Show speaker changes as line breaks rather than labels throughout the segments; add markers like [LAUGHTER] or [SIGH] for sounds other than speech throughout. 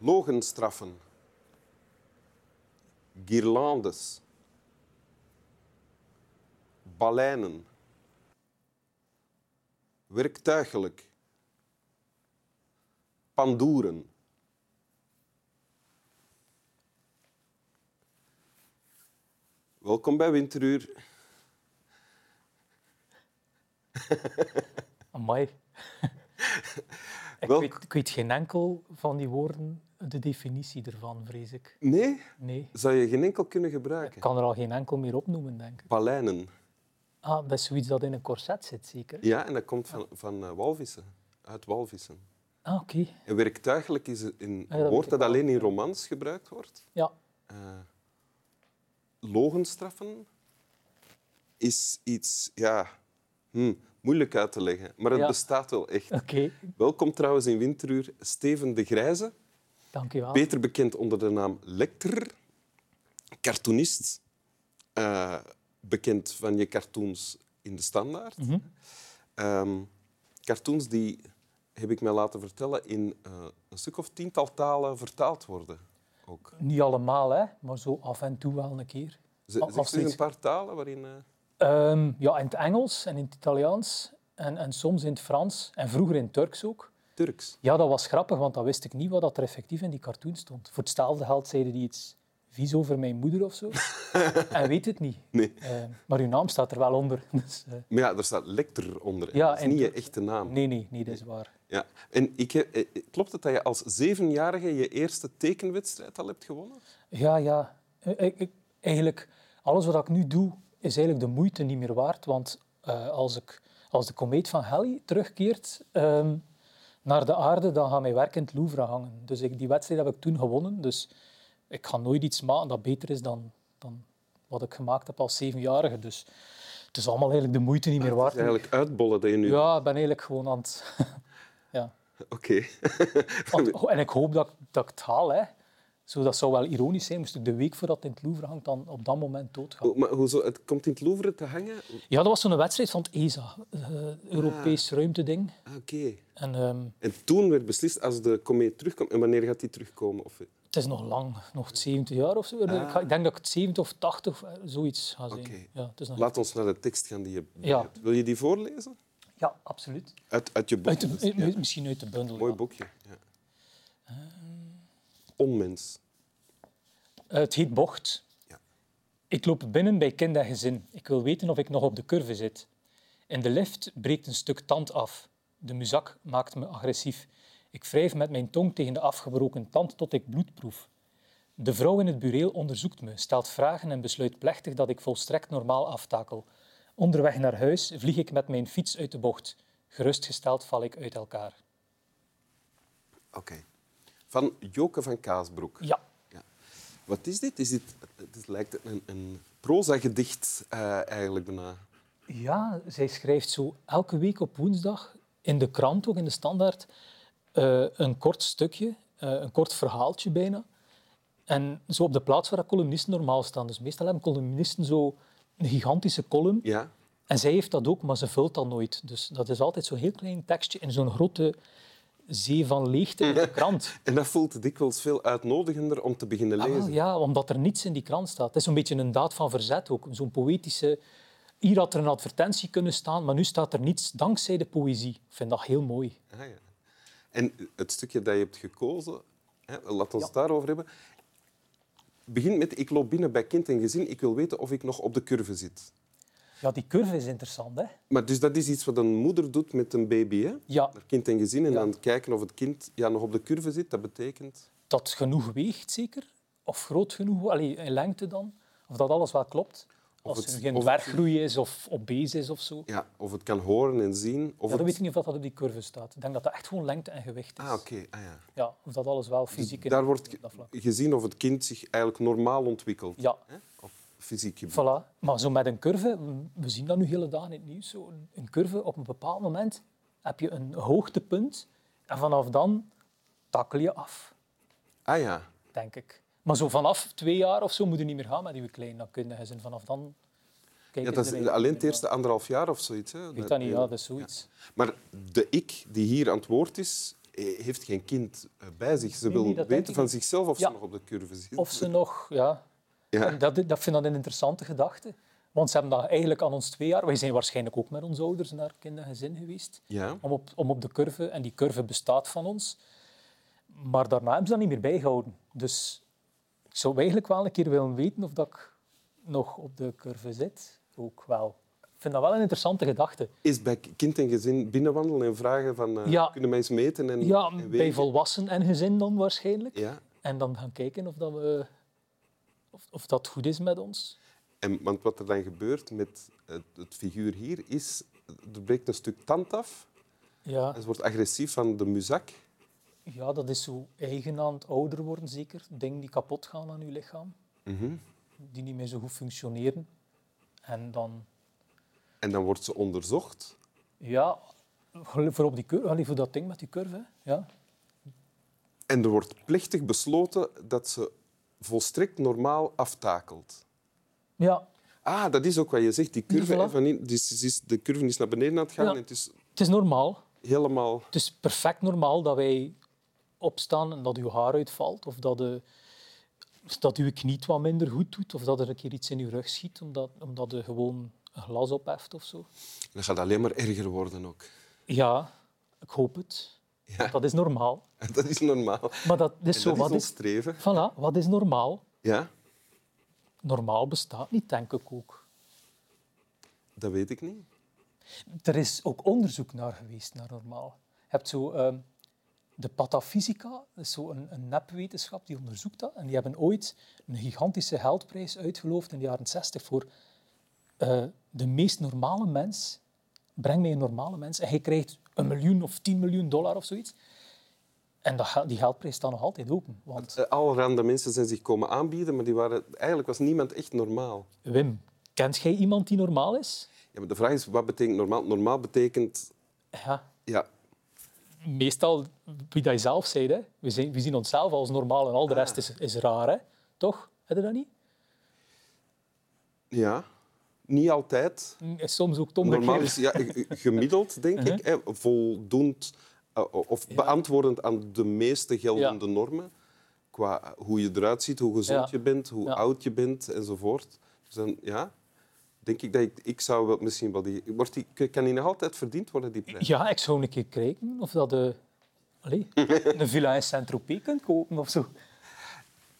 logenstraffen, guirlandes, baleinen, werktuigelijk, pandoeren. Welkom bij Winteruur.
Amai. ik,
Welk-
weet, ik weet geen enkel van die woorden de definitie ervan, vrees ik.
Nee,
Nee.
zou je geen enkel kunnen
Ik
gebruiken.
kan er al geen enkel meer opnoemen, denk ik.
Baleinen.
Ah, dat is zoiets dat in een corset zit, zeker?
Ja, en dat komt van, van eh, walvissen. Uit walvissen.
Ah, oké.
En werktuigelijk is een
Ah, Ja, dat weet
woord
ik
dat
wel.
alleen in romans gebruikt wordt.
Ja.
eh, logenstraffen is iets ja, hm, moeilijk uit te leggen, maar het
Ja.
bestaat wel
[LAUGHS]
echt.
Oké,
Welkom trouwens in Winteruur, Steven de Grijze,
Ah. dank je wel.
beter bekend onder de naam Lecter, cartoonist, eh, bekend van je cartoons in de standaard.
Mhm.
Ehm, cartoons die, heb ik mij laten vertellen, in eh, een stuk of tiental talen vertaald worden. Ook.
Niet allemaal, hè, maar zo af en toe wel een keer.
Z-
Al-
Zeg eens
absoluut.
een paar talen waarin... eh,
Ehm, ja, in het Engels en in het Italiaans en, en soms in het Frans en vroeger in het Turks ook.
Turks.
Ja, dat was grappig, want dan wist ik niet wat dat er effectief in die cartoon stond. Voor hetzelfde geld zeiden die iets vies over mijn moeder of
[LAUGHS]
zo. en weet het niet.
Nee.
Eh, maar uw naam staat er wel onder. Dus, eh,
Maar ja, er staat lector onder. hè.
Ja,
dat is
en
niet je
Turks.
echte naam.
nee, nee, nee, dat is waar.
Ja. En ik heb, eh, eh, klopt het dat je als zevenjarige je eerste tekenwedstrijd al hebt gewonnen?
Ja, ja. Eh, ik- ik- eigenlijk, alles wat ik nu doe, is eigenlijk de moeite niet meer waard. Want eh, als, ik, als de komeet van Halley terugkeert ehm, naar de aarde, dan gaat mijn werk in het Louvre hangen. Dus ik, die wedstrijd heb ik toen gewonnen. Dus ik ga nooit iets maken dat beter is dan, dan wat ik gemaakt heb als zevenjarige. Dus het is allemaal eigenlijk de moeite niet meer
Het
waard.
is eigenlijk uitbollen dat je nu...
Ja, ik ben eigenlijk gewoon aan het... [LAUGHS] ja.
[LAUGHS] Oké. [LAUGHS]
Want- oh, en ik hoop dat, ik- dat ik het haal. Hè. Zo, dat zou wel ironisch zijn, moest ik de week voordat het in het Louvre hangt, dan op dat moment doodgaan.
Ho- Maar hoezo? Het komt in het Louvre te hangen?
Ja, dat was zo'n wedstrijd van het ESA, eh, Europees ruimteding.
Oh. Ah, Oké.
En ehm,
En toen werd beslist als de komeet terugkomt. En wanneer gaat die terugkomen? Of... eh, Oké.
het is nog lang, nog 70 jaar of zo. Ik ga- Ik denk dat ik het 70 of 80 of, eh, zoiets ga zijn.
Ah. Oké.
Ja, het is nog...
Laat ons naar de tekst gaan die je
Ja.
hebt. Wil je die voorlezen?
ja, absoluut.
Uit, uit je boek.
Uit de-
Dat is-
eh,
ja.
Misschien uit de bundel.
Mooi
ja.
boekje. Ja. Onmens.
Eh, het heet Bocht.
Ja.
Ik loop binnen bij kind en gezin. Ik wil weten of ik nog op de curve zit. In de lift breekt een stuk tand af. De muzak maakt me agressief. Ik wrijf met mijn tong tegen de afgebroken tand tot ik bloed proef. De vrouw in het bureel onderzoekt me, stelt vragen en besluit plechtig dat ik volstrekt normaal aftakel. Onderweg naar huis vlieg ik met mijn fiets uit de bocht. Gerustgesteld val ik uit elkaar.
Oké. Van Joke van Kaasbroek.
Ja,
Ja. Wat is dit? Is dit het lijkt een, een proza-gedicht eh, eigenlijk bijna.
Ja, zij schrijft zo elke week op woensdag in de krant, ook in de standaard, eh, een kort stukje, eh, een kort verhaaltje bijna. En zo op de plaats waar dat columnisten normaal staan. Dus meestal hebben columnisten zo een gigantische column.
Ja.
En zij heeft dat ook, maar ze vult dat nooit. Dus dat is altijd zo'n heel klein tekstje in zo'n grote zee van leegte in de krant.
En dat voelt dikwijls veel uitnodigender om te beginnen
Ah, wel,
lezen.
ja, omdat er niets in die krant staat. Het is een beetje een daad van verzet ook. Zo'n poëtische... Hier had er een advertentie kunnen staan, maar nu staat er niets dankzij de poëzie. Ik vind dat heel mooi.
Ah, ja. En het stukje dat je hebt gekozen, hè, laat ons het daarover hebben. Begint met: Ik loop binnen bij kind en gezin. Ik wil weten of ik nog op de curve zit.
Ja, die curve is interessant, hè?
Maar dus dat is iets wat een moeder doet met een baby. Hè?
Ja,
Naar kind en gezin. En
Ja.
dan kijken of het kind ja, nog op de curve zit. Dat betekent.
dat genoeg weegt zeker. Of groot genoeg, allee, in lengte dan. Of dat alles wel klopt. Als
het-
er geen
of-
dwerggroei is of obese is of zo. Ja,
Ja, of het kan horen en zien. Of
dan
het...
weet ik niet of dat op die curve staat. Ik denk dat dat echt gewoon lengte en gewicht is.
Ah, oké. Ah, ja.
Ja, of dat alles wel fysiek in
Daar wordt
op dat vlak.
ge- gezien of het kind zich eigenlijk normaal ontwikkelt.
Ja,
Hè? Of fysiek gebied.
Voilà. Maar zo met een curve, we zien dat nu hele dagen in het nieuws, zo een curve, op een bepaald moment heb je een hoogtepunt en vanaf dan takkel je af,
Ah ja.
denk ik. Maar zo vanaf twee jaar of zo moet je niet meer gaan met je klein, dan kun je gezin vanaf dan
ja
kijken.
dat is alleen het eerste anderhalf jaar of zoiets. Hè?
Ik weet dat niet, ja, dat is zoiets.
Maar de ik die hier aan het woord is, eh, heeft geen kind eh, bij zich. Ze
Nee,
wil
nee, dat denk
weten
ik
van
niet.
zichzelf of
Ja.
ze nog op de curve zit.
Of ze nog... Ja.
Ja.
En Dat, dat vind ik een interessante gedachte. Want ze hebben dat eigenlijk aan ons twee jaar... Wij zijn waarschijnlijk ook met onze ouders naar kindergezin geweest.
Ja.
Om op, om op de curve... En die curve bestaat van ons. Maar daarna hebben ze dat niet meer bijgehouden. Dus ik zou eigenlijk wel een keer willen weten of dat ik nog op de curve zit. Ook wel. Ik vind dat wel een interessante gedachte.
Is bij kind en gezin binnenwandelen en vragen van eh,
Ja.
kunnen mij eens meten en,
Ja,
en
bij
wegen?
volwassen en gezin dan waarschijnlijk.
Ja.
En dan gaan kijken of dat, we, of, of dat goed is met ons.
En, want wat er dan gebeurt met het, het figuur hier is, er breekt een stuk tand af.
Ja.
En ze wordt agressief van de muzak.
Ja, dat is zo eigen aan het ouder worden, zeker. Dingen die kapot gaan aan je lichaam,
Mhm.
die niet meer zo goed functioneren. En dan,
En dan wordt ze onderzocht.
ja, voor, op die curve, allee, voor dat ding met die curve. hè. Ja.
En er wordt plechtig besloten dat ze volstrekt normaal aftakelt.
ja,
Ah, dat is ook wat je zegt. Die curve,
Ja, voilà.
hè, van in, dus, het is- de curve is naar beneden aan het gaan
Ja.
en het is
het is normaal.
helemaal...
Het is perfect normaal dat wij opstaan en dat uw haar uitvalt. Of dat, de, dat uw knie het wat minder goed doet. Of dat er een keer iets in uw rug schiet omdat, omdat je gewoon een glas opheft of zo.
Dat gaat alleen maar erger worden ook. [LAUGHS]
Ja, ik hoop het.
Ja.
Dat is normaal.
Dat is normaal.
Maar dat is
En
zo.
dat
wat
is ons
is,
streven.
Voilà, wat is normaal?
Ja,
Normaal bestaat niet, denk ik ook.
dat weet ik niet.
Er is ook onderzoek naar geweest, naar normaal. Je hebt zo ehm, de patafysica, dat is zo een, een nepwetenschap, die onderzoekt dat. En die hebben ooit een gigantische geldprijs uitgeloofd in de jaren 60 voor eh, de meest normale mens. Breng mij een normale mens en hij krijgt een miljoen of 10 miljoen dollar of zoiets. En dat, gel- die geldprijs staat nog altijd open. Want
Eh, Allerhande mensen zijn zich komen aanbieden, maar die waren, eigenlijk was niemand echt normaal.
Wim, kent jij iemand die normaal is?
Ja, maar de vraag is, wat betekent normaal? Normaal betekent...
Ja,
Ja,
meestal wie dat je zelf zei, hè? We, zien, we zien onszelf als normaal en al de rest is, is raar, hè? toch? Heb je dat niet?
ja niet altijd.
Mm, Is soms ook het
Normaal
omgekeerde.
is ja, eh, eh, gemiddeld, denk
Mhm.
ik. Hè, voldoend eh, of beantwoordend aan de meeste geldende normen. Qua hoe je eruit ziet, hoe gezond
Ja.
je bent, hoe
Ja.
oud je bent enzovoort. Dus dan, ja, denk ik dat ik... Ik zou wel misschien wel die... Wordt die kan die nog altijd verdiend worden, die prijs?
Ja, ik zou een keer kijken of dat eh, allee, een villa in Saint-Tropez kunt kopen of zo.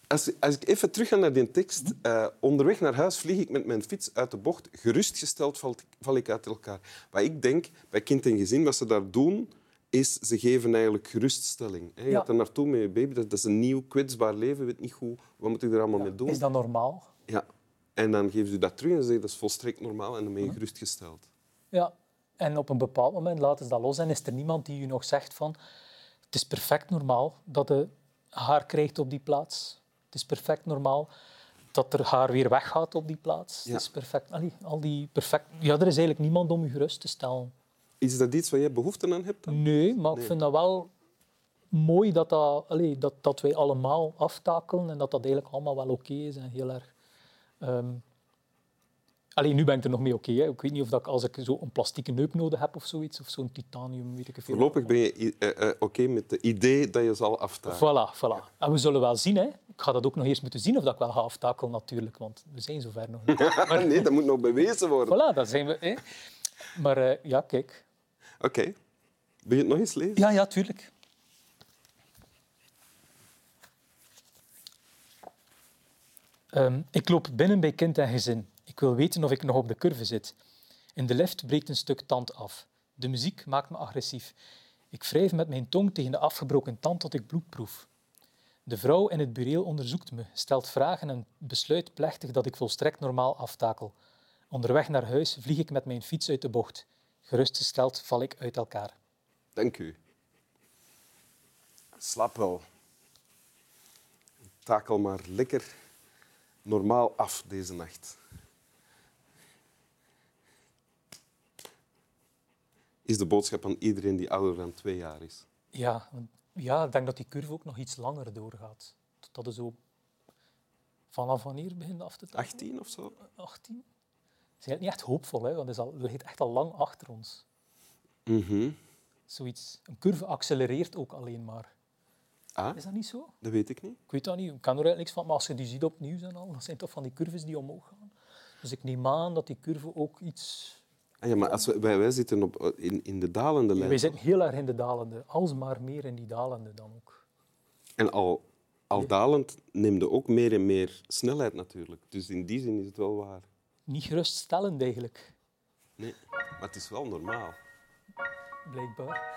Als, als ik even terug ga naar die tekst. eh, onderweg naar huis vlieg ik met mijn fiets uit de bocht. Gerustgesteld val ik, val ik uit elkaar. Wat ik denk, bij kind en gezin, wat ze daar doen, is ze geven eigenlijk geruststelling. hè. Je
Ja.
gaat er naartoe met je baby. Dat, dat is een nieuw, kwetsbaar leven. Je weet niet goed, wat moet ik er allemaal mee doen?
Is dat normaal?
Ja. En dan geven ze dat terug en ze zeggen, dat is volstrekt normaal. En dan ben je gerustgesteld.
Ja. En op een bepaald moment laten ze dat los en is er niemand die je nog zegt van het is perfect normaal dat je haar krijgt op die plaats. Het is perfect normaal dat er haar weer weggaat op die plaats.
Ja.
Het is perfect. Allee, al die perfect... Ja, er is eigenlijk niemand om je gerust te stellen.
Is dat iets waar jij behoefte aan hebt? Dan?
Nee, maar ik
Nee.
vind dat wel mooi dat, dat, allee, dat, dat wij allemaal aftakelen en dat dat eigenlijk allemaal wel oké is en heel erg... ehm, Allee, nu ben ik er nog mee oké. hè. ik weet niet of dat ik, als ik zo een plastieke neup nodig heb of zoiets, of zo'n titanium, weet ik veel.
Voorlopig ben je i- eh, eh, oké met het idee dat je zal aftaken.
Voilà, voilà. En we zullen wel zien. Hè. Ik ga dat ook nog eerst moeten zien of dat ik wel ga aftakelen, natuurlijk, want we zijn zover nog
[LAUGHS]
niet.
[LAUGHS] nee, dat moet nog bewezen worden.
voilà, dat zijn we. Hè. Maar eh, ja, kijk.
Oké. Wil je het nog eens lezen?
Ja, ja, tuurlijk. Ehm, ik loop binnen bij kind en gezin. Ik wil weten of ik nog op de curve zit. In de lift breekt een stuk tand af. De muziek maakt me agressief. Ik wrijf met mijn tong tegen de afgebroken tand tot ik bloed proef. De vrouw in het bureel onderzoekt me, stelt vragen en besluit plechtig dat ik volstrekt normaal aftakel. Onderweg naar huis vlieg ik met mijn fiets uit de bocht. Gerustgesteld val ik uit elkaar.
Dank u. Slap wel. Takel maar lekker normaal af deze nacht. Is de boodschap aan iedereen die ouder dan twee jaar is.
Ja, want- ja, ik denk dat die curve ook nog iets langer doorgaat. Totdat er zo vanaf wanneer begint af te tellen?
18 of zo?
18? Het is eigenlijk niet echt hoopvol, hè, want het is al, het ligt echt al lang achter ons.
Mhm.
Zoiets. Een curve accelereert ook alleen maar.
Ah,
Is dat niet zo?
dat weet ik niet.
Ik weet dat niet. Ik kan er eigenlijk niks van. Maar als je die ziet op het nieuws en al, dat zijn toch van die curves die omhoog gaan. Dus ik neem aan dat die curve ook iets...
Ah, ja, maar als we, wij, wij zitten op, in, in de dalende lijn.
Wij zitten heel erg in de dalende. Alsmaar meer in die dalende dan ook.
En al, al dalend neemde ook meer en meer snelheid natuurlijk. Dus in die zin is het wel waar.
Niet geruststellend eigenlijk,
Nee, maar het is wel normaal.
blijkbaar.